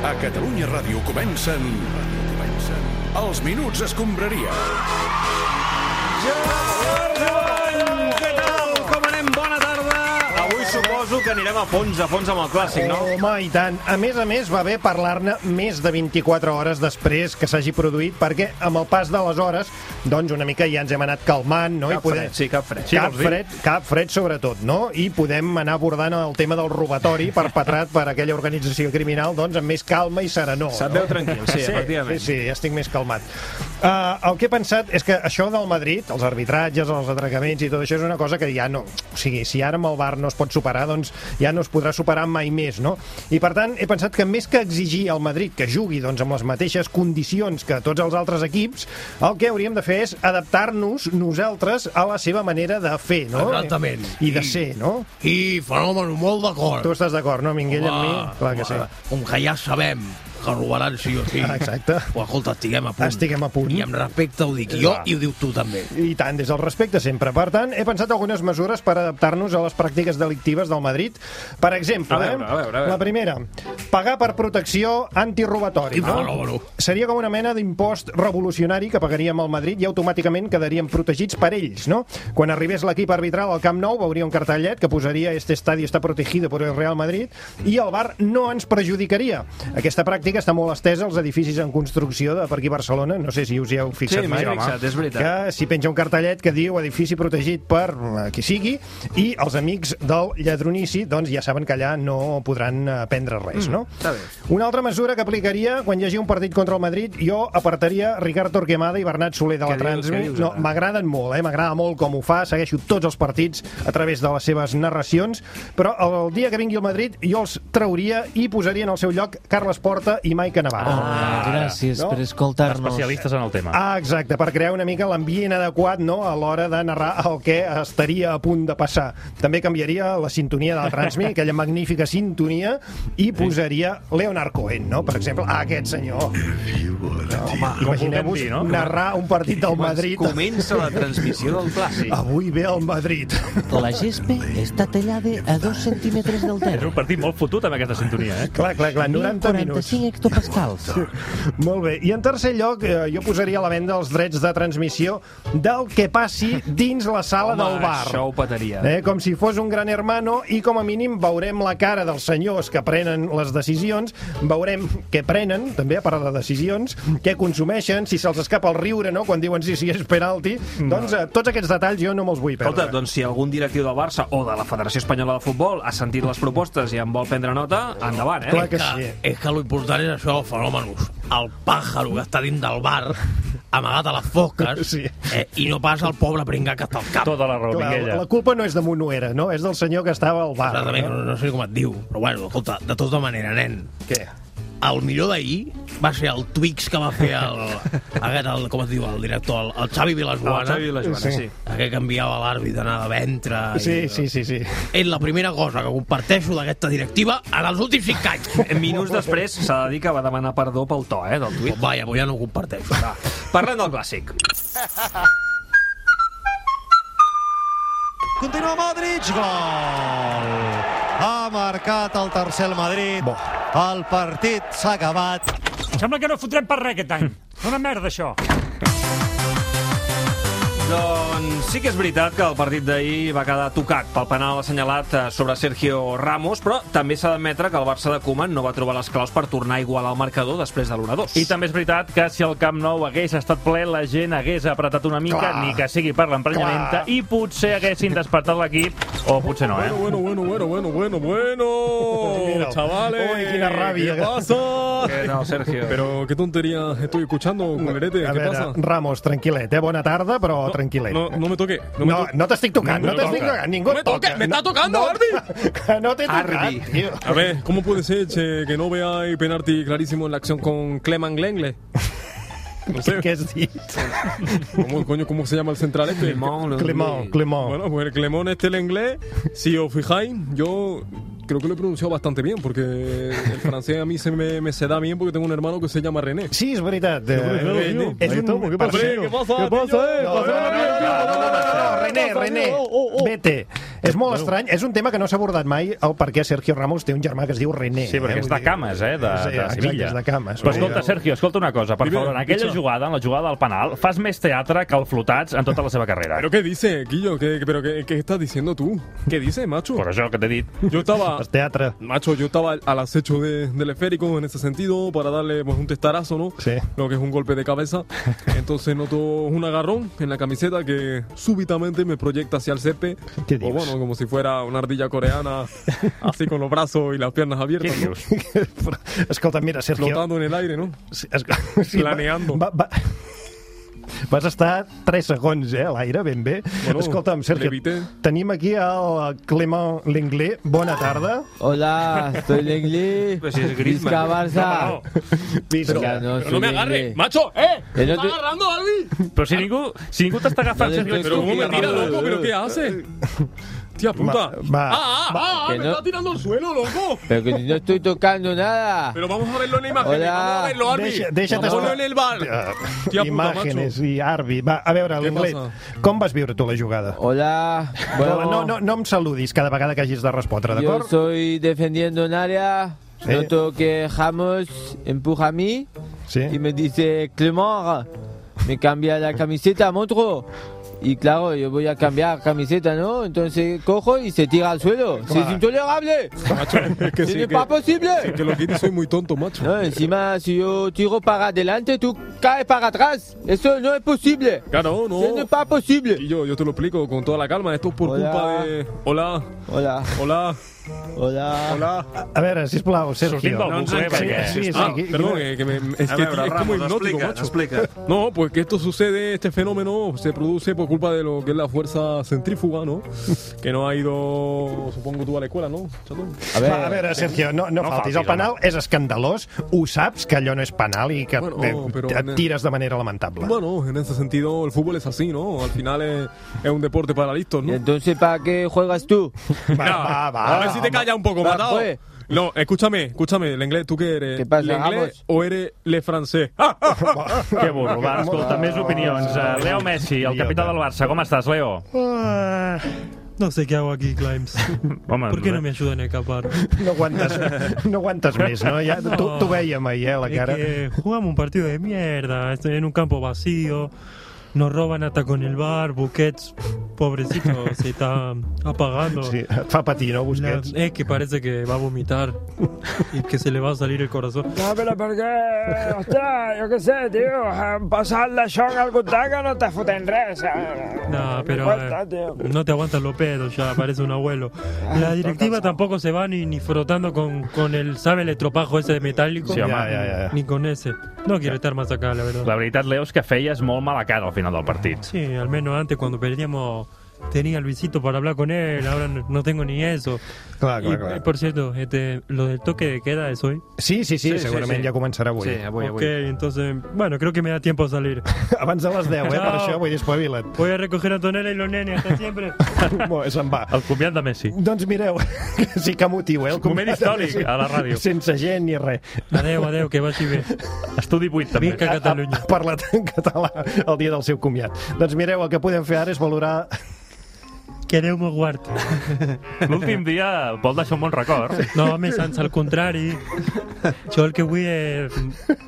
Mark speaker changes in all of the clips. Speaker 1: A Catalunya Ràdio comencen... comencen els Minuts Escombraria.
Speaker 2: Joan, què tal? Com anem? Bona tarda. Avui suposo que anirem a fons, a fons amb el clàssic, no?
Speaker 3: Home, i tant. A més a més, va bé parlar-ne més de 24 hores després que s'hagi produït, perquè amb el pas de les hores, doncs una mica ja ens hem anat calmant, no?
Speaker 2: Cap fred, sí, cap fred. Sí,
Speaker 3: Cap
Speaker 2: vols dir?
Speaker 3: fred, cap fred sobretot, no? I podem anar abordant el tema del robatori perpetrat per aquella organització criminal, doncs, amb més calma i serenor.
Speaker 2: Se't
Speaker 3: no?
Speaker 2: veu tranquil, sí, efectivament.
Speaker 3: Sí, sí, ja estic més calmat. Uh, el que he pensat és que això del Madrid, els arbitratges, els atracaments i tot això és una cosa que ja no... O sigui, si ara amb el bar no es pot superar, doncs ja no es podrà superar mai més, no? I per tant, he pensat que més que exigir al Madrid que jugui doncs, amb les mateixes condicions que tots els altres equips, el que hauríem de fer és adaptar-nos nosaltres a la seva manera de fer, no?
Speaker 4: Exactament.
Speaker 3: I de
Speaker 4: I-
Speaker 3: ser, no?
Speaker 4: I fenomen, molt d'acord.
Speaker 3: Tu estàs d'acord, no, Minguell, amb mi?
Speaker 4: Home,
Speaker 3: Clar que sí.
Speaker 4: home, Com que ja sabem que robaran sí o sí.
Speaker 3: Ah, exacte.
Speaker 4: Però escolta, estiguem a punt.
Speaker 3: Estiguem a punt.
Speaker 4: I amb respecte ho dic jo
Speaker 3: Va.
Speaker 4: i ho diu tu també.
Speaker 3: I tant, des del respecte sempre. Per tant, he pensat algunes mesures per adaptar-nos a les pràctiques delictives del Madrid. Per exemple,
Speaker 2: A veure,
Speaker 3: eh?
Speaker 2: a veure, a veure.
Speaker 3: la primera, pagar per protecció antirobatori.
Speaker 4: I fenòmeno.
Speaker 3: Seria com una mena d'impost revolucionari que pagaríem al Madrid i automàticament quedaríem protegits per ells, no? Quan arribés l'equip arbitral al Camp Nou veuria un cartellet que posaria este estadi està protegido por el Real Madrid i el VAR no ens perjudicaria. Aquesta pràctica està molt estesa als edificis en construcció de per aquí Barcelona, no sé si us hi heu fixat
Speaker 2: Sí, m'hi he
Speaker 3: mai.
Speaker 2: fixat, és veritat.
Speaker 3: Que si penja un cartellet que diu edifici protegit per eh, qui sigui i els amics del lladronici doncs ja saben que allà no podran eh, prendre res, no?
Speaker 2: Mm, està bé.
Speaker 3: Una altra mesura que aplicaria quan hi hagi un partit contra el Madrid, jo apartaria Ricard Torquemada i Bernat Soler de la
Speaker 2: Què dius, què
Speaker 3: Transmi.
Speaker 2: dius,
Speaker 3: No,
Speaker 2: ara?
Speaker 3: m'agraden molt, eh? m'agrada molt com ho fa, segueixo tots els partits a través de les seves narracions, però el dia que vingui el Madrid jo els trauria i posaria en el seu lloc Carles Porta i Maica Navarro.
Speaker 5: Ah, gràcies
Speaker 3: No?
Speaker 5: per escoltar-nos.
Speaker 6: especialistes en el tema.
Speaker 3: Ah, exacte, per crear una mica l'ambient adequat no, a l'hora de narrar el que estaria a punt de passar. També canviaria la sintonia de la Transmi, aquella magnífica sintonia, i posaria Leonard Cohen, no? per exemple, a aquest senyor. Home,
Speaker 6: vulguem
Speaker 3: Imagineu-vos
Speaker 6: dir, no?
Speaker 3: narrar un partit del Madrid.
Speaker 2: Comença la transmissió del clàssic.
Speaker 3: Avui ve el Madrid.
Speaker 5: La gespa està tallada a dos centímetres del
Speaker 6: És
Speaker 5: terra.
Speaker 6: un partit molt fotut amb aquesta sintonia, eh?
Speaker 3: Clar, clar, clar, 90 minuts.
Speaker 5: 45 hectopascals.
Speaker 3: Molt bé. I en tercer lloc, eh, jo posaria a la venda els drets de transmissió del que passi dins la sala
Speaker 2: Home,
Speaker 3: del bar.
Speaker 2: això ho petaria.
Speaker 3: Eh, com si fos un gran hermano i com a mínim veurem la cara dels senyors que prenen les decisions, veurem què prenen, també a part de decisions, què consumeixen, si se'ls escapa el riure, no?, quan diuen sí, sí, és penalti. Doncs eh, tots aquests detalls jo no me'ls vull perdre.
Speaker 2: Escolta, doncs si algun directiu del Barça o de la Federació Espanyola de Futbol ha sentit les propostes i en vol prendre nota, endavant, eh?
Speaker 3: Clar que
Speaker 4: Ah,
Speaker 3: sí.
Speaker 4: És que lo important és això, fenòmenos. El pàjaro que està dins del bar, amagat a les foques,
Speaker 3: Sí.
Speaker 4: eh, i no pas el pobre pringat que està al cap.
Speaker 6: Tota la raó,
Speaker 3: Clar,
Speaker 6: Minguella.
Speaker 3: la culpa no és de Monoera, no? És del senyor que estava al bar.
Speaker 4: Exactament, no, no sé com et diu, però bueno, escolta, de tota manera, nen,
Speaker 3: Què?
Speaker 4: el millor d'ahir va ser el Twix que va fer el, aquest, el com es diu, el director, el, el Xavi
Speaker 2: El
Speaker 4: Vilajoana,
Speaker 2: Xavi i la Joana, sí.
Speaker 3: Sí.
Speaker 4: aquest que enviava l'àrbitre anar de ventre.
Speaker 3: Sí,
Speaker 4: i,
Speaker 3: sí, sí, sí.
Speaker 4: És la primera cosa que comparteixo d'aquesta directiva en els últims 5 anys.
Speaker 2: Minuts després s'ha de dir que va demanar perdó pel to, eh, del tuit.
Speaker 4: Pues vaja, pues ja no ho comparteixo.
Speaker 2: Va, parlem del clàssic.
Speaker 7: Continua Modric, gol! Ha marcat el tercer el Madrid.
Speaker 3: Bo.
Speaker 7: El partit s'ha acabat.
Speaker 8: Sembla que no fotrem per res aquest any. Una merda, això.
Speaker 2: Doncs sí que és veritat que el partit d'ahir va quedar tocat pel penal assenyalat eh, sobre Sergio Ramos, però també s'ha d'admetre que el Barça de Koeman no va trobar les claus per tornar a igualar el marcador després de l'1-2.
Speaker 6: I també és veritat que si el Camp Nou hagués estat ple, la gent hagués apretat una mica,
Speaker 3: Clar.
Speaker 6: ni que sigui per l'emprenyamenta, i potser haguessin despertat l'equip, o potser no, eh?
Speaker 9: Bueno, bueno, bueno, bueno, bueno, bueno,
Speaker 3: Mira.
Speaker 9: chavales.
Speaker 3: Uy, qué rabia.
Speaker 9: ¿Qué pasa?
Speaker 2: Què tal, Sergio?
Speaker 9: Pero qué tontería estoy escuchando, culerete.
Speaker 3: A
Speaker 9: ¿Qué
Speaker 3: veure,
Speaker 9: pasa?
Speaker 3: Ramos, tranquilet, eh? Bona tarda, però tranquil·let.
Speaker 9: No, no me toque. No, me
Speaker 3: No,
Speaker 9: toque.
Speaker 3: no t'estic tocant, no,
Speaker 9: No me
Speaker 3: t'estic
Speaker 9: toca.
Speaker 3: tocant, ningú
Speaker 9: No
Speaker 3: et
Speaker 9: me
Speaker 3: toca.
Speaker 9: toque, me está tocando, Ardi.
Speaker 3: Que no t'he tocat,
Speaker 2: Ardi.
Speaker 3: tio.
Speaker 9: A ver, ¿cómo puede ser che, que no vea el penalti clarísimo en la acción con Cleman Glengle? No
Speaker 3: Què, què
Speaker 9: sé,
Speaker 3: has dit?
Speaker 9: ¿cómo, coño, ¿cómo se llama el central este?
Speaker 2: Clemón,
Speaker 3: Clemó, Clemó.
Speaker 2: Clemón.
Speaker 9: Bueno, pues el Clemón este el inglés, si os fijáis, yo creo que lo he pronunciado bastante bien, porque el francés a mí se me, me se da bien porque tengo un hermano que se llama René.
Speaker 3: Sí, és veritat.
Speaker 9: no,
Speaker 3: Eh,
Speaker 9: no,
Speaker 3: és un...
Speaker 9: Hombre, ¿Qué pasa?
Speaker 3: parcero.
Speaker 9: ¿Qué pasa? eh?
Speaker 3: No, no, no, no, no, no, no, no, no,
Speaker 9: Pásame la
Speaker 3: no,
Speaker 9: mierda,
Speaker 3: René,
Speaker 9: pásame,
Speaker 3: René,
Speaker 9: oh, oh, oh.
Speaker 3: vete. És molt estrany, és un tema que no s'ha abordat mai el per què Sergio Ramos té un germà que es diu René.
Speaker 6: Sí, perquè
Speaker 3: eh?
Speaker 6: és
Speaker 3: Vull
Speaker 6: de
Speaker 3: dir-
Speaker 6: cames, eh, de,
Speaker 3: Sí,
Speaker 6: de
Speaker 3: exacte,
Speaker 6: Sevilla.
Speaker 3: és de
Speaker 6: Però
Speaker 3: cames. Vull dir-
Speaker 6: escolta, Sergio, escolta una cosa, per
Speaker 9: Primero,
Speaker 6: favor, en aquella
Speaker 9: dicho.
Speaker 6: jugada, en la jugada del penal, fas més teatre que el flotats en tota la seva carrera.
Speaker 9: ¿Pero qué dice, Guillo? ¿Qué, pero qué, qué estás diciendo tú? ¿Qué dices, macho?
Speaker 6: Per això que t'he dit.
Speaker 9: Yo estaba...
Speaker 3: El teatre.
Speaker 9: Macho, yo estaba al- al acecho de- del esférico en ese sentido para darle pues, un testarazo, ¿no?
Speaker 3: Sí.
Speaker 9: Lo que es un golpe de cabeza. Entonces noto un agarrón en la camiseta que súbitamente me proyecta hacia el césped.
Speaker 3: ¿Qué
Speaker 9: O
Speaker 3: dios?
Speaker 9: bueno, como si fuera una ardilla coreana, así con los brazos y las piernas abiertas, ¿no?
Speaker 3: Escolta, mira, Sergio...
Speaker 9: flotando en el aire, ¿no?
Speaker 3: Sí, es- sí,
Speaker 9: Planeando.
Speaker 3: Va, va, Vas estar 3 segons, eh, a l'aire, ben bé.
Speaker 9: Bueno,
Speaker 3: Escolta'm, Sergio,
Speaker 9: levité.
Speaker 3: tenim aquí el Clément Lenglet. Bona tarda.
Speaker 10: Hola, soy Lengli.
Speaker 2: Pues si es Griezmann.
Speaker 10: Visca Barça.
Speaker 3: Visca.
Speaker 10: Ya no, soy Lenglet.
Speaker 9: ¡Macho! ¡Eh!
Speaker 10: Que no te-
Speaker 6: Però si ningú, si ningú t'està agafant,
Speaker 10: No,
Speaker 6: Sergio,
Speaker 10: no,
Speaker 6: ets
Speaker 9: Pero
Speaker 6: tu
Speaker 9: ¿cómo
Speaker 6: qui
Speaker 9: me tira,
Speaker 6: agarra.
Speaker 9: loco? ¿Pero qué hace? Tía puta.
Speaker 3: Va.
Speaker 9: ¡Ah, ah, ah!
Speaker 10: que
Speaker 9: ¡Me
Speaker 10: no-
Speaker 9: está tirando al suelo, loco!
Speaker 10: Pero que no estoy tocando nada.
Speaker 9: Pero vamos a verlo en la imagen,
Speaker 10: Hola.
Speaker 9: vamos a verlo, Arby.
Speaker 3: Deixa- deixa't
Speaker 9: Ponlo
Speaker 3: estar.
Speaker 9: en el bar.
Speaker 3: Ah,
Speaker 9: Tia puta,
Speaker 3: Imàgenes i Arbi. Va, a veure,
Speaker 9: Què
Speaker 3: Lenglet,
Speaker 9: passa?
Speaker 3: com vas viure tu la jugada?
Speaker 10: Hola. Bueno,
Speaker 3: No, no, no em saludis cada vegada que hagis de respondre,
Speaker 10: yo
Speaker 3: d'acord?
Speaker 10: estoy defendiendo un área.
Speaker 3: Sí.
Speaker 10: Noto que Ramos empuja a mí y
Speaker 3: Sí.
Speaker 10: me dice, Clement, me cambia la camiseta, monstruo. Y claro, yo voy a cambiar camiseta, ¿no? Entonces cojo y se tira al suelo. ¡Si es intolerable!
Speaker 9: Macho, es que
Speaker 10: ¡Si
Speaker 9: sí,
Speaker 10: no es
Speaker 9: que-
Speaker 10: pas posible!
Speaker 9: Que los guiris soy muy tonto, macho.
Speaker 10: No, encima si yo tiro para adelante, tú caes para atrás. Eso no es posible.
Speaker 9: Claro,
Speaker 10: Eso no
Speaker 9: no.
Speaker 10: es pas posible.
Speaker 9: Y yo, yo te lo explico con toda la calma. Esto es por
Speaker 10: Hola.
Speaker 9: culpa de. Hola,
Speaker 10: Hola,
Speaker 9: hola,
Speaker 10: hola.
Speaker 9: hola.
Speaker 3: A veure, sisplau,
Speaker 6: Sortim
Speaker 3: Sergio.
Speaker 6: del bucle, perquè...
Speaker 3: Sí, sí,
Speaker 9: Ah,
Speaker 3: sí,
Speaker 9: perdón, eh, que me, es, que
Speaker 2: A veure,
Speaker 9: es como
Speaker 2: Ramos,
Speaker 9: hipnótico,
Speaker 2: explica,
Speaker 9: macho.
Speaker 2: explica.
Speaker 9: No, pues que esto sucede, este fenómeno se produce por culpa de lo que es la fuerza centrífuga, ¿no? que no ha ido, supongo tú, a la escuela, ¿no? chato?
Speaker 10: A
Speaker 3: Va, a
Speaker 10: ver,
Speaker 3: veure, Sergio, no, no,
Speaker 6: No
Speaker 3: faltis.
Speaker 6: faltis,
Speaker 3: El penal és escandalós, ho saps que allò no és penal i que
Speaker 9: Bueno,
Speaker 3: bueno,
Speaker 9: però-
Speaker 3: et tires de manera lamentable.
Speaker 9: Bueno, en ese sentido, el fútbol es así, ¿no? Al final es, es un deporte para listos,
Speaker 10: ¿y
Speaker 9: ¿no?
Speaker 10: entonces para qué juegas tú?
Speaker 3: va,
Speaker 9: Ya,
Speaker 3: va, va.
Speaker 9: a ver si te callas un poco,
Speaker 10: Va,
Speaker 9: matado.
Speaker 10: pues.
Speaker 9: No, escúchame, escúchame, el inglés, ¿tú qué eres?
Speaker 10: ¿Qué pasa,
Speaker 9: ¿Le inglés
Speaker 10: vamos?
Speaker 9: o eres le francés? ¡Ah!
Speaker 6: Que burro, va,
Speaker 3: Ah.
Speaker 6: escolta, més opinions. Eh, Leo Messi, el capità del Barça, com estàs, Leo?
Speaker 11: Ah, No sé qué hago aquí, Climbs.
Speaker 6: Home, eh.
Speaker 11: ¿Por qué no me ayudan a escapar?
Speaker 3: No aguantes, no aguantes més, no? Ja, tu, tu veiem ahir, eh, la
Speaker 11: Es
Speaker 3: cara.
Speaker 11: que jugamos un partido de mierda, estoy en un campo vacío, nos roban hasta con el bar, Busquets, pobrecito, se está apagando.
Speaker 3: Sí, et fa patir, no,
Speaker 11: La-
Speaker 3: Busquets?
Speaker 11: es que parece que va a vomitar y que se le va a salir el corazón.
Speaker 8: No, però per què? Ostres, jo què sé, tio. Em passa el d'això en el contacte que no t'ha fotent res.
Speaker 11: No, pero
Speaker 8: Cuesta,
Speaker 11: eh,
Speaker 8: tío.
Speaker 11: no te aguantan los pedos, ya parece un abuelo. La directiva tampoco se va ni, ni frotando con, con el, ¿sabe? El estropajo ese de metálico.
Speaker 6: Sí, home.
Speaker 3: Ja, ja, ja.
Speaker 11: Ni con ese. No quiero estar más acá, la verdad.
Speaker 6: La veritat, Leo, és que feies molt mala cara al final del partit.
Speaker 11: Sí, al menos antes cuando perdíamos tenía a Luisito para hablar con él, ahora no, no tengo ni eso.
Speaker 3: Clar, clar,
Speaker 11: Y, eh,
Speaker 3: clar.
Speaker 11: por cierto, este, lo del toque de queda es hoy.
Speaker 3: Sí, sí, sí,
Speaker 2: Sí, sí,
Speaker 3: segurament
Speaker 2: sí.
Speaker 3: ja començarà avui.
Speaker 2: Sí, avui,
Speaker 11: ok,
Speaker 2: avui.
Speaker 11: entonces, bueno, creo que me da tiempo a salir.
Speaker 3: Abans de les 10, eh? Per
Speaker 11: Ciao.
Speaker 3: això vull dir, espavila't.
Speaker 11: Voy a recoger a Tonela y los nenes, hasta siempre.
Speaker 3: Bo, Se'n va.
Speaker 6: El convidat de Messi.
Speaker 3: Doncs mireu, sí que motiu, eh? El
Speaker 6: Moment històric a la ràdio.
Speaker 3: Sense gent ni res. Ah,
Speaker 11: Adeu, adeu, que vagi bien.
Speaker 6: Estudi 8,
Speaker 11: Vinca
Speaker 6: també.
Speaker 11: Catalunya.
Speaker 3: Ha parlat en català el dia del seu comiat. Doncs mireu, el que podem fer ara és valorar...
Speaker 11: Quereu me guard.
Speaker 6: L'últim dia vol deixar un bon record.
Speaker 11: No, me sans al contrari. Jo el que vull és...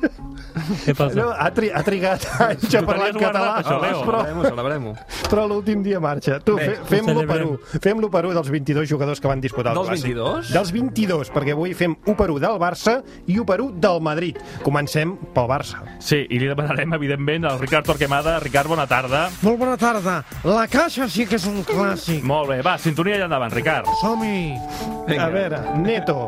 Speaker 11: Què
Speaker 3: No,
Speaker 11: passa?
Speaker 3: ha, tri ha trigat anys a
Speaker 6: Ho
Speaker 3: parlar
Speaker 6: tenies
Speaker 3: en
Speaker 6: guardat,
Speaker 3: català,
Speaker 6: això, Leo.
Speaker 3: però,
Speaker 2: Celebrem-ho, celebrem-ho.
Speaker 3: però l'últim dia marxa. Tu, fe fem-lo per
Speaker 11: celebrem.
Speaker 3: 1. Fem-lo per 1 dels 22 jugadors que van disputar el
Speaker 2: Dels
Speaker 3: Clàssic.
Speaker 2: 22?
Speaker 3: Dels 22, perquè avui fem 1 per 1 del Barça i 1 per 1 del Madrid. Comencem pel Barça.
Speaker 6: Sí, i li demanarem, evidentment, al Ricard Torquemada. Ricard, bona tarda.
Speaker 11: Molt bona tarda. La caixa sí que és un clàssic.
Speaker 6: Molt bé, va, sintonia allà endavant, Ricard.
Speaker 11: Som-hi!
Speaker 3: A veure, Neto.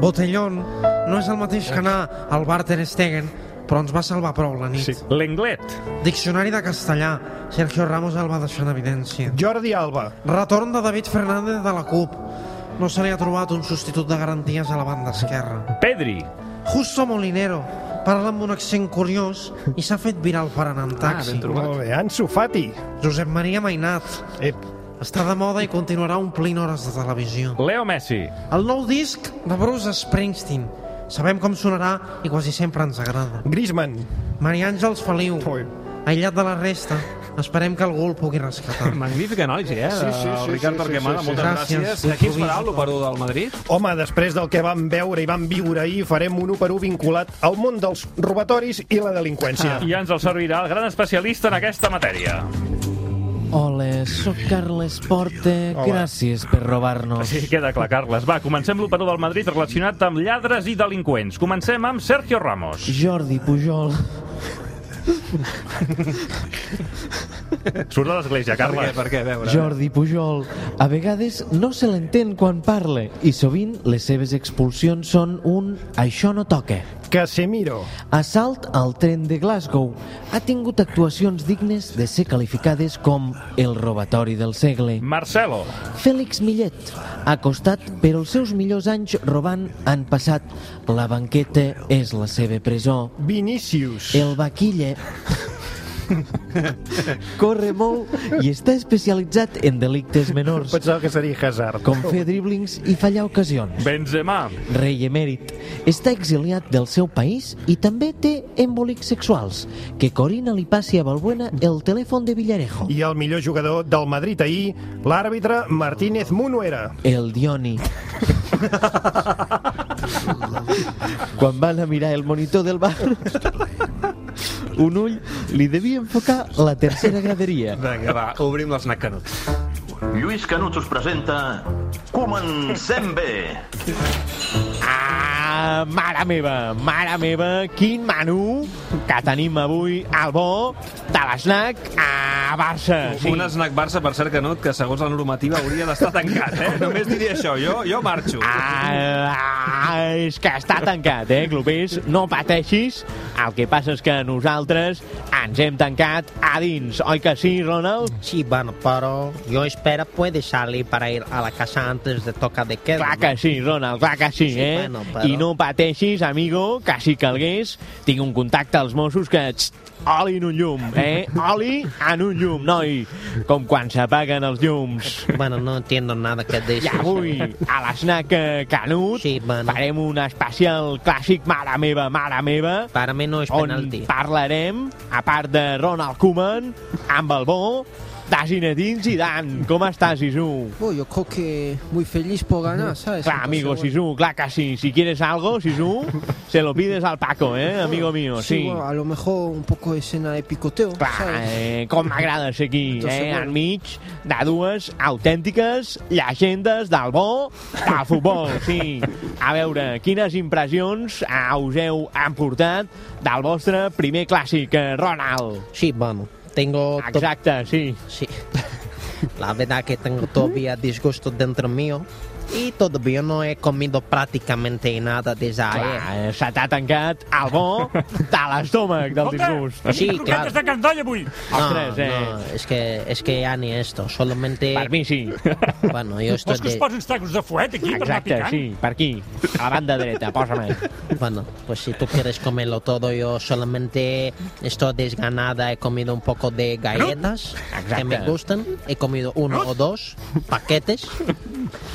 Speaker 11: Botellón no és el mateix que anar al bar Ter Stegen, però ens va salvar prou la nit.
Speaker 3: Sí.
Speaker 11: Sí.
Speaker 6: L'Englet.
Speaker 11: Diccionari de castellà, Sergio Ramos el va deixar en evidència.
Speaker 3: Jordi Alba.
Speaker 11: Retorn de David Fernández de la CUP. No se li ha trobat un substitut de garanties a la banda esquerra.
Speaker 6: Pedri.
Speaker 11: Justo Molinero parla amb un accent curiós i s'ha fet viral per anar en taxi.
Speaker 3: Molt bé, Ansu Fati.
Speaker 11: Josep Maria Mainat
Speaker 3: Ep,
Speaker 11: està de moda i continuarà omplint hores de televisió.
Speaker 6: Leo Messi.
Speaker 11: El nou disc de Bruce Springsteen. Sabem com sonarà i quasi sempre ens agrada.
Speaker 3: Griezmann.
Speaker 11: Maria Àngels Feliu.
Speaker 3: Ui.
Speaker 12: aïllat de la resta. Esperem que algú el pugui rescatar.
Speaker 2: Magnífica anàlisi, eh?
Speaker 12: Sí, sí, sí,
Speaker 2: Ricard
Speaker 12: sí, sí,
Speaker 2: Torquemada,
Speaker 12: sí, sí.
Speaker 2: moltes
Speaker 12: Gràcies.
Speaker 2: gràcies. De qui ens farà l'operador del Madrid?
Speaker 3: Home, després del que vam veure i vam viure ahir, farem un 1 per 1 vinculat al món dels robatoris i la delinqüència.
Speaker 6: I ens el servirà el gran especialista en aquesta matèria.
Speaker 5: Ole, sóc Carles Porte.
Speaker 6: Hola.
Speaker 5: Gràcies per robar-nos.
Speaker 6: Sí, queda clar, Carles. Va, comencem l'operador del Madrid relacionat amb lladres i delinqüents. Comencem amb Sergio Ramos.
Speaker 5: Jordi Pujol.
Speaker 6: Surt de l'església, Carles. Per
Speaker 2: què? Per què? A veure.
Speaker 5: Jordi Pujol. A vegades no se l'entén quan parla i sovint les seves expulsions són un això no toca.
Speaker 3: Casemiro.
Speaker 5: Assalt al tren de Glasgow. Ha tingut actuacions dignes de ser qualificades com el robatori del segle.
Speaker 6: Marcelo.
Speaker 5: Fèlix Millet. Ha costat, però els seus millors anys robant han passat. La banqueta és la seva presó.
Speaker 3: Vinícius.
Speaker 5: El vaquille. Corre molt i està especialitzat en delictes menors.
Speaker 3: Pensava que seria Hazard.
Speaker 5: Com fer driblings i fallar ocasions.
Speaker 6: Benzema.
Speaker 5: Rei emèrit. Està exiliat del seu país i també té embolics sexuals. Que Corina li passi a Balbuena el telèfon de
Speaker 11: Ah.
Speaker 5: Villarejo.
Speaker 3: I el millor jugador del Madrid ahir, l'àrbitre Martínez Munuera.
Speaker 5: El Dioni. Quan van a mirar el monitor del bar, un ull li devia enfocar la tercera graderia.
Speaker 2: Vinga, va, obrim les nacanuts.
Speaker 6: Ah,
Speaker 13: Lluís Canuts us presenta Comencem bé!
Speaker 10: Ah, mare meva, mare meva, quin menú que tenim avui al bo de l'esnac a Barça.
Speaker 2: Sí. Un snack Barça, per cert, que no, que segons la normativa hauria d'estar tancat, eh? Només diria això, jo, jo marxo.
Speaker 10: Ah, és que està tancat, eh, Clopés? No pateixis. El que passa és que nosaltres ens hem tancat a dins, oi que sí, Ronald?
Speaker 12: Sí, bueno, pero yo espero puede salir para ir a la casa antes de toca de queda.
Speaker 10: Clar que sí, Ronald, clar que sí, eh?
Speaker 12: bueno, però-
Speaker 10: I no pateixis, amigo, que si calgués tinc un contacte als Mossos que... Txt, oli en un llum, eh? Oli en un llum, noi. Com quan s'apaguen els llums.
Speaker 12: Bueno, no entiendo nada que dices.
Speaker 10: I avui, a l'esnac eh, Canut, sí, farem un especial clàssic Mare meva, mare meva.
Speaker 12: Para mi no és
Speaker 10: on
Speaker 12: penalti.
Speaker 10: parlarem, a part de Ronald Koeman, amb el bo, de Zinedine Zidane. Com estàs, Isu?
Speaker 14: Bueno, yo creo que muy feliz por ganar, ¿sabes?
Speaker 10: Claro,
Speaker 14: Entonces,
Speaker 10: amigo
Speaker 14: bueno.
Speaker 10: Sisu, claro que sí. Si quieres algo, Sisu, se lo pides al Paco, ¿eh? Amigo mío,
Speaker 14: Sí,
Speaker 10: sí.
Speaker 14: bueno, a lo mejor un poco de escena de picoteo, ¿sabes?
Speaker 10: Eh, com m'agrada ser aquí,
Speaker 14: Entonces,
Speaker 10: eh?
Speaker 14: bueno.
Speaker 10: Enmig de dues autèntiques llegendes del bo del futbol, sí. A veure, quines impressions eh, us heu emportat del vostre primer clàssic, eh, Ronald?
Speaker 12: Sí, bueno, tengo...
Speaker 10: Exacte, sí.
Speaker 12: Sí. La verdad que tengo todavía disgusto dentro mío y todavía no he comido prácticamente nada desde ayer.
Speaker 10: eh, Se t'ha tancat el bo de l'estómac del disgust.
Speaker 12: Sí, claro.
Speaker 6: de candoll avui.
Speaker 10: Ostres, eh.
Speaker 12: no, es que, es que ya ni esto, solamente... Para
Speaker 10: mí sí.
Speaker 12: Bueno, yo estoy de...
Speaker 6: posen tacos de fuet
Speaker 10: Exacte, sí, per aquí, a la banda dreta, posa'm.
Speaker 12: Bueno, pues si tú quieres comerlo todo, yo solamente estoy desganada. He comido un poco de galletas que me gustan. He comido uno o dos paquetes.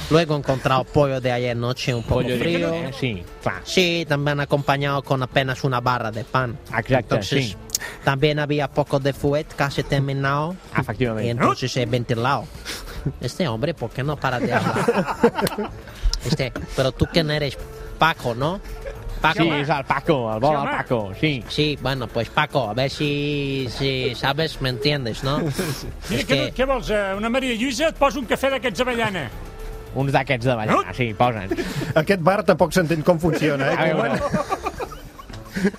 Speaker 12: Luego he encontrado pollo de ayer noche un poco
Speaker 10: Pollo de-
Speaker 12: frío.
Speaker 10: eh, sí,
Speaker 12: Sí, también acompañado con apenas una barra de pan.
Speaker 10: Exacto,
Speaker 12: Entonces,
Speaker 10: sí.
Speaker 12: También había poco de fuet, casi terminado.
Speaker 10: Efectivamente.
Speaker 12: Y entonces he ventilado. Este hombre, ¿por qué no para de hablar? Este, pero tú quién eres, Paco, ¿no?
Speaker 10: Sí, es al Paco, al bo
Speaker 12: Sí,
Speaker 10: del
Speaker 12: home.
Speaker 10: Paco, sí.
Speaker 12: Sí, bueno, pues Paco, a ver si, si sabes, me entiendes, ¿no?
Speaker 15: Mira, què,
Speaker 12: Es que-
Speaker 15: què vols? eh, Una Maria Lluïsa? Et poso un cafè d'aquests avellana.
Speaker 10: Uns d'aquests de ballar, sí, posen.
Speaker 3: Aquest bar tampoc s'entén com funciona,
Speaker 12: A
Speaker 3: eh?
Speaker 12: veure.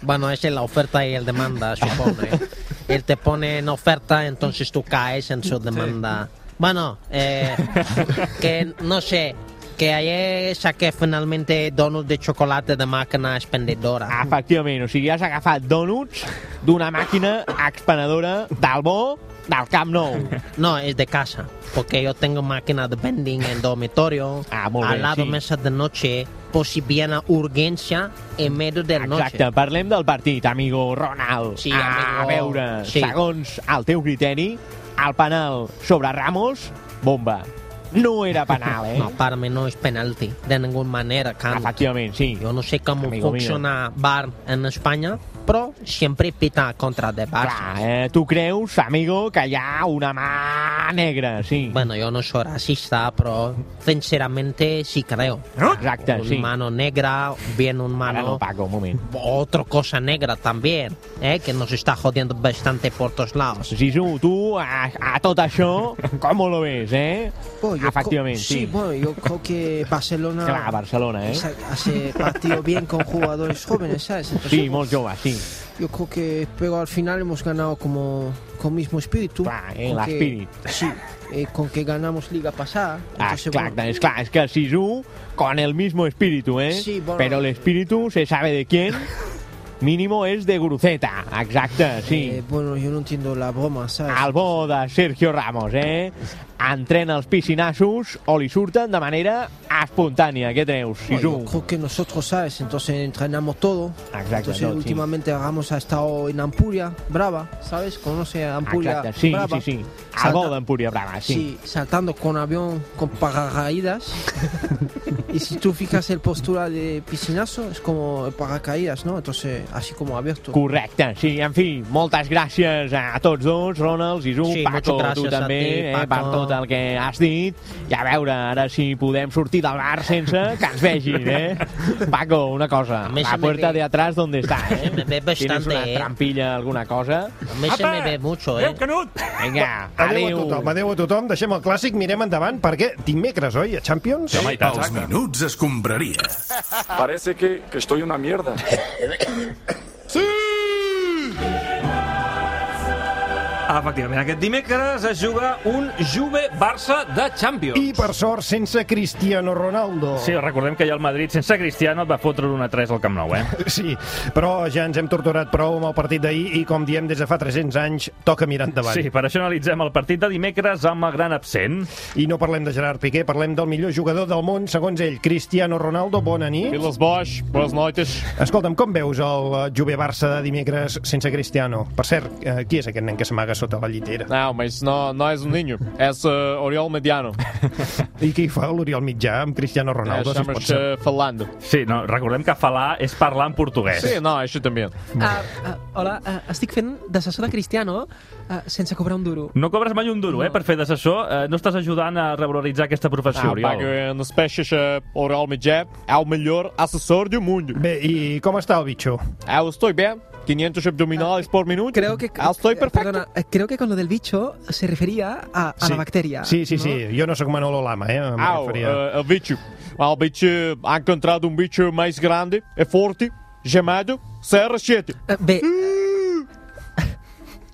Speaker 12: Bueno, esa es la oferta y el demanda, supone. Él te pone en oferta, entonces tú caes en su demanda. Bueno, eh, que no sé, que ayer saqué finalmente donuts de chocolate de máquina expendedora.
Speaker 10: Ah, Efectivament, o sigui, has agafat dònuts d'una màquina expenedora del bo del Camp Nou.
Speaker 12: No, es de casa, porque yo tengo máquina de vending en dormitorio,
Speaker 10: muy
Speaker 12: al
Speaker 10: bien,
Speaker 12: lado
Speaker 10: Ah, sí.
Speaker 12: mesas de noche, por si viene urgencia en medio de la noche.
Speaker 10: Exacte, parlem del partit, amigo Ronald.
Speaker 12: Sí,
Speaker 10: A
Speaker 12: amigo.
Speaker 10: veure,
Speaker 12: Sí.
Speaker 10: segons el teu criteri, el penal sobre Ramos, bomba. no era penal, eh?
Speaker 12: No, para mí no es penalti, de ninguna manera, Carlos.
Speaker 10: Efectivamente, sí.
Speaker 12: Yo no sé cómo
Speaker 10: Amigo mío.
Speaker 12: funciona VAR en España, pero siempre pita contra de VAR.
Speaker 10: Clar, eh, tu creus, amigo, que hi ha Ah, una mà negra, sí.
Speaker 12: Bueno, yo no soy racista, pero sinceramente sí creo.
Speaker 10: Ah, Exacte,
Speaker 12: un
Speaker 10: sí.
Speaker 12: mano negra, bien un mano...
Speaker 10: no, Paco, un moment.
Speaker 12: Otra cosa negra también, eh, que nos está jodiendo bastante por todos lados.
Speaker 10: Sisu, tu a, a tot això, com ho ves, eh?
Speaker 14: Oh, yo co-
Speaker 10: Efectivamente, sí.
Speaker 14: Sí, bueno, yo creo que Barcelona.
Speaker 10: Claro, Barcelona, ¿eh?
Speaker 14: sa- Hace partido bien con jugadores jóvenes, ¿sabes? Entonces,
Speaker 10: Sí, molt jove, sí.
Speaker 14: Yo creo que, pero al final hemos ganado como con mismo espíritu.
Speaker 10: eh,
Speaker 14: con
Speaker 10: el
Speaker 14: que-
Speaker 10: espíritu.
Speaker 14: Sí, eh, con que ganamos liga pasada.
Speaker 10: Ah,
Speaker 14: Entonces,
Speaker 10: clar,
Speaker 14: bueno,
Speaker 10: és clar, és que Sisu con el mismo espíritu, eh?
Speaker 14: Sí, bueno.
Speaker 10: Però l'espíritu se sabe de quién. Mínimo és de Gruceta, exacte, sí.
Speaker 14: eh, bueno, yo no entiendo la broma, ¿sabes?
Speaker 10: El bo de Sergio Ramos, eh? Entrena els piscinassos o li surten de manera espontània. Què treus, Sisu?
Speaker 14: Bueno, yo creo que nosotros, ¿sabes? Entonces entrenamos todo.
Speaker 10: Exacto,
Speaker 14: Entonces,
Speaker 10: no, sí.
Speaker 14: últimamente Ramos ha estado en Ampuria, Brava, ¿sabes? Conoce a Ampuria.
Speaker 10: Exacte, sí,
Speaker 14: Brava.
Speaker 10: sí, sí. El
Speaker 14: Salta-
Speaker 10: bo d'Empúria Brava, sí.
Speaker 14: Sí, saltando con avión, con paracaídas. y si tú fijas el postura de piscinazo, es como el paracaídas, ¿no? Entonces, así como abierto.
Speaker 10: Correcte, sí, en fi, moltes gràcies a tots dos, Ronald, Zizú,
Speaker 14: Sí,
Speaker 10: Paco,
Speaker 14: moltes gràcies
Speaker 10: tu
Speaker 14: a
Speaker 10: també,
Speaker 14: ti,
Speaker 10: eh, per
Speaker 14: Paco.
Speaker 10: tot el que has dit, i a veure ara si podem sortir del bar sense que ens vegin, eh? Paco, una cosa,
Speaker 12: mi
Speaker 10: la
Speaker 12: se me
Speaker 10: puerta
Speaker 12: ve-
Speaker 10: de atrás d'on està, eh?
Speaker 12: Me ve
Speaker 10: Tienes una
Speaker 12: bastante, eh.
Speaker 10: trampilla, alguna cosa?
Speaker 12: A mí se me ve mucho, eh.
Speaker 10: Vinga,
Speaker 3: Adéu a
Speaker 10: adéu.
Speaker 3: tothom, adéu a tothom. Deixem el clàssic, mirem endavant, perquè dimecres, oi, a Champions?
Speaker 1: Els minuts escombraria.
Speaker 16: Parece que, que estoy una mierda.
Speaker 2: Ah, Efectivament, aquest dimecres es juga un Juve-Barça de Champions.
Speaker 3: I per sort, sense Cristiano Ronaldo.
Speaker 6: Oh. Sí, recordem que ja el Madrid sense Cristiano et va fotre una 3 al Camp Nou, eh?
Speaker 3: Sí, però ja ens hem torturat prou amb el partit d'ahir i, com diem des de fa 300 anys, toca mirar endavant.
Speaker 6: Sí, per això analitzem el partit de dimecres amb el gran absent.
Speaker 3: I no parlem de Gerard Piqué, parlem del millor jugador del món, segons ell, Cristiano Ronaldo. Bona nit.
Speaker 17: Piles Boix, bones noites.
Speaker 3: Escolta'm, com veus el eh, Juve Barça de dimecres sense Cristiano? Per cert, eh, qui és aquest nen que s'amaga sota la llitera?
Speaker 17: Não, mas não, não és um ninho, és uh, Oriol Mediano.
Speaker 3: I què hi fa l'Oriol Mitjà amb Cristiano Ronaldo, assim si es pot
Speaker 17: Estamos
Speaker 3: saber?
Speaker 17: uh, falando.
Speaker 6: Sí, no, recordem que falar és parlar en portuguès.
Speaker 17: Sí, no, això també.
Speaker 18: Hola, uh, estic fent d'assessor de Cristiano uh, sense cobrar un duro.
Speaker 6: No cobres mai un duro, eh, per fer d'assessor. Eh, no estàs ajudant a regularitzar aquesta
Speaker 17: Ah,
Speaker 6: professió, Oriol.
Speaker 17: paga nos peixes uh, Oriol Mediano, é o melhor assessor do mundo. Ah,
Speaker 3: Bé, i com està el bitxo?
Speaker 17: Eu estou bem, 500 abdominais por minuto. Creo que... Eu estou perfecto.
Speaker 18: Perdona, eh, creo que con lo del bicho se refería a, a la bacteria.
Speaker 3: Sí, sí, sí, jo no sóc Manolo Lama, eh? Em
Speaker 17: Au,
Speaker 3: referia...
Speaker 17: eh, el bicho. El bicho, ha encontrado um bicho mais grande, é forte, chamado CR7.
Speaker 18: Bé,
Speaker 17: Uh.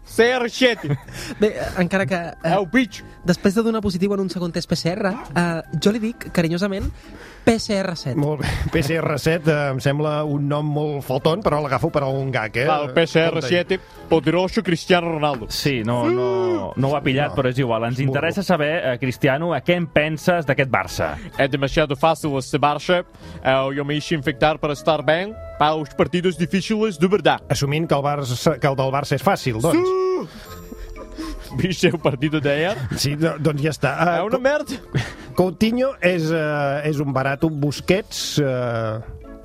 Speaker 17: CR7.
Speaker 18: bé, eh, encara que... Uh,
Speaker 17: El bitxo.
Speaker 18: Després de donar positiu en un segon test PCR, uh, jo li dic, carinyosament, PCR7.
Speaker 3: Molt bé. PCR7 eh, em sembla un nom molt foton, però l'agafo per algun gag, eh?
Speaker 17: El PCR7, poderoso Cristiano Ronaldo.
Speaker 6: Sí, no, no, no ho ha pillat, però és igual. Ens interessa saber, eh, Cristiano, a què en penses d'aquest Barça?
Speaker 17: É demasiado fácil esse Barça. Eh, Eu me deixo infectar para estar bem para os partidos difíceis de verdade.
Speaker 3: Assumint que el, Barça, que el del Barça és fàcil, doncs.
Speaker 17: Viste el partido d'ahir?
Speaker 3: Sí, do- doncs ja està. Uh,
Speaker 17: una merda.
Speaker 3: Coutinho és, uh, és un barato, Busquets... Uh...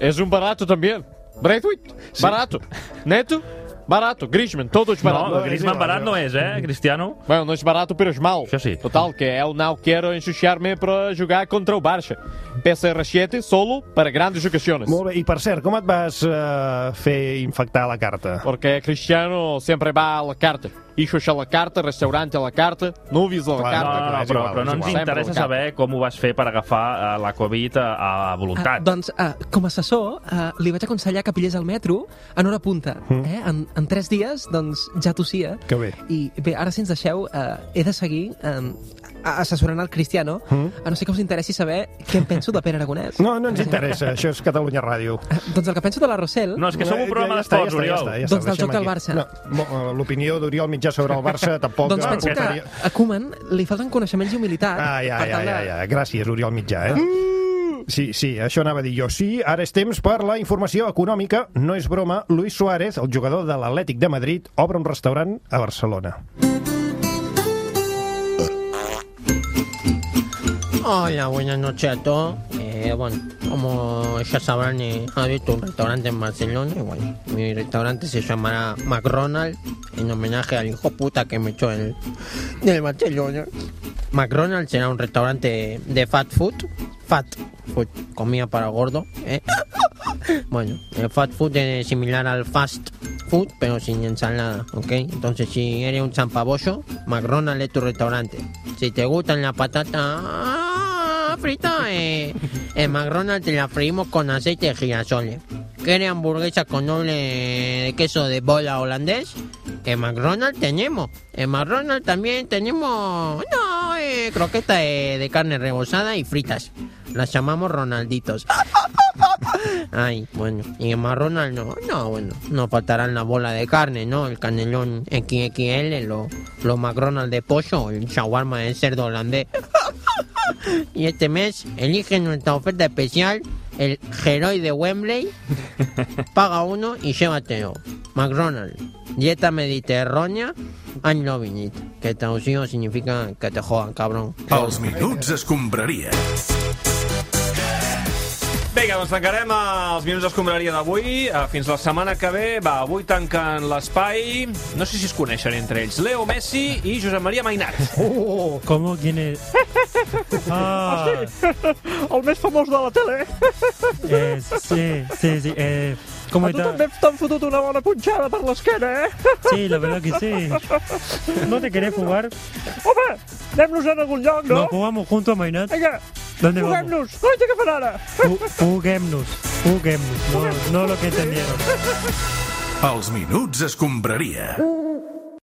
Speaker 17: És un barato també. Braithwaite, barato. Neto, barato. Griezmann, todos barato.
Speaker 6: No, Griezmann barat no és, eh, Cristiano?
Speaker 17: Bueno, não é barato, pero é mal.
Speaker 6: Això sí.
Speaker 17: Total, que eu não quero enxuxar-me para jogar contra o Barça. PSR7 solo para grandes ocasiones.
Speaker 3: Molt bé, i per cert, com et vas uh, fer infectar la carta?
Speaker 17: Porque Cristiano sempre va a la carta. Ixos a la carta, restaurante a la carta, nubis a la é
Speaker 6: No,
Speaker 17: carta.
Speaker 6: no, no, però, però no
Speaker 17: Sempre
Speaker 6: ens
Speaker 17: a la
Speaker 6: interessa
Speaker 17: carta.
Speaker 6: saber com ho vas fer per agafar eh, la Covid a, a
Speaker 18: Ah,
Speaker 6: voluntat.
Speaker 18: doncs, ah, com a assessor, ah, li vaig aconsellar que pillés el metro en hora punta.
Speaker 6: Mm.
Speaker 18: Eh? En, en tres dies, doncs, ja tossia.
Speaker 3: Que bé.
Speaker 18: I bé, ara, si ens deixeu, eh, he de seguir eh, assessorant el Cristiano,
Speaker 3: Mm.
Speaker 18: a no sé que us interessi saber què en penso de Pere Aragonès.
Speaker 3: No, no ens interessa, això és Catalunya Ràdio. Eh,
Speaker 18: Doncs el que penso de la Rossell...
Speaker 3: No, és que som un programa
Speaker 18: està,
Speaker 3: d'esports,
Speaker 18: està,
Speaker 3: Oriol.
Speaker 18: està, doncs del joc del Barça.
Speaker 3: No, mo- eh, L'opinió d'Oriol Mitjà sobre el Barça tampoc... eh,
Speaker 18: doncs penso que a Koeman li falten coneixements i humilitat.
Speaker 3: Ai,
Speaker 18: per eh, Mm.
Speaker 3: ai,
Speaker 18: tal
Speaker 3: ai,
Speaker 18: de-
Speaker 3: ai, ai, gràcies, Oriol Mitjà, eh? Sí, sí, això anava a dir jo. Sí, ara és temps per la informació econòmica. No és broma, Luis Suárez, el jugador de l'Atlètic de Madrid, obre un restaurant a Barcelona.
Speaker 12: Hola, buenas noches a todos. Eh, bueno, como ya sabrán, eh, abierto un restaurante en Barcelona. y bueno, mi restaurante se llamará McDonald's en homenaje al hijo puta que me echó el, del Barcelona. McDonald's será un restaurante de fat food. Fat food, comida para gordo. eh. Bueno, el fast food es similar al fast food, pero sin ensalada, ¿ok? Entonces, si eres un zampabollo, McDonald's es tu restaurante. Si te gustan las patatas fritas, eh, en McDonald's te las freímos con aceite de girasoles. ¿Quieres hamburguesa con doble de queso de bola holandés? En McDonald's tenemos. En McDonald's también tenemos... No, eh, croqueta eh, de carne rebozada y fritas. Las llamamos Ronalditos. Ay, bueno, y en McDonald's no, no, bueno, no faltarán la bola de carne, ¿no? El canelón XXL, los lo McDonald's de pollo, el shawarma de cerdo holandés. Y este mes elige nuestra oferta especial, el Heroi de Wembley, paga uno y llévatelo. McDonald's, dieta mediterránea, and loving it, que traducido significa que te jodan, cabrón.
Speaker 1: Els minuts escombraria.
Speaker 6: Vinga, doncs tancarem els minuts d'escombraria d'avui. Eh, Fins la setmana que ve. Va, avui tanquen l'espai... No sé si es coneixen entre ells. Leo Messi i Josep Maria Mainat.
Speaker 11: Oh, ¿Cómo? ¿Quién es? Ah.
Speaker 8: El més famós de la tele.
Speaker 11: Eh, sí, sí, sí. Eh, ¿Cómo
Speaker 8: A tu
Speaker 11: está?
Speaker 8: també t'han fotut una bona punxada per l'esquena, eh?
Speaker 11: Sí, la verdad que sí. ¿No te querés jugar?
Speaker 8: Home, anem-nos en algun lloc, no?
Speaker 11: ¿Nos jugamos juntos, Mainat?
Speaker 8: Vinga,
Speaker 11: ¿Dónde vamos?
Speaker 8: juguem-nos. No, què fan ara?
Speaker 11: Juguemnos. Juguemnos. No, no lo que entendieron.
Speaker 1: Els minuts escombraria.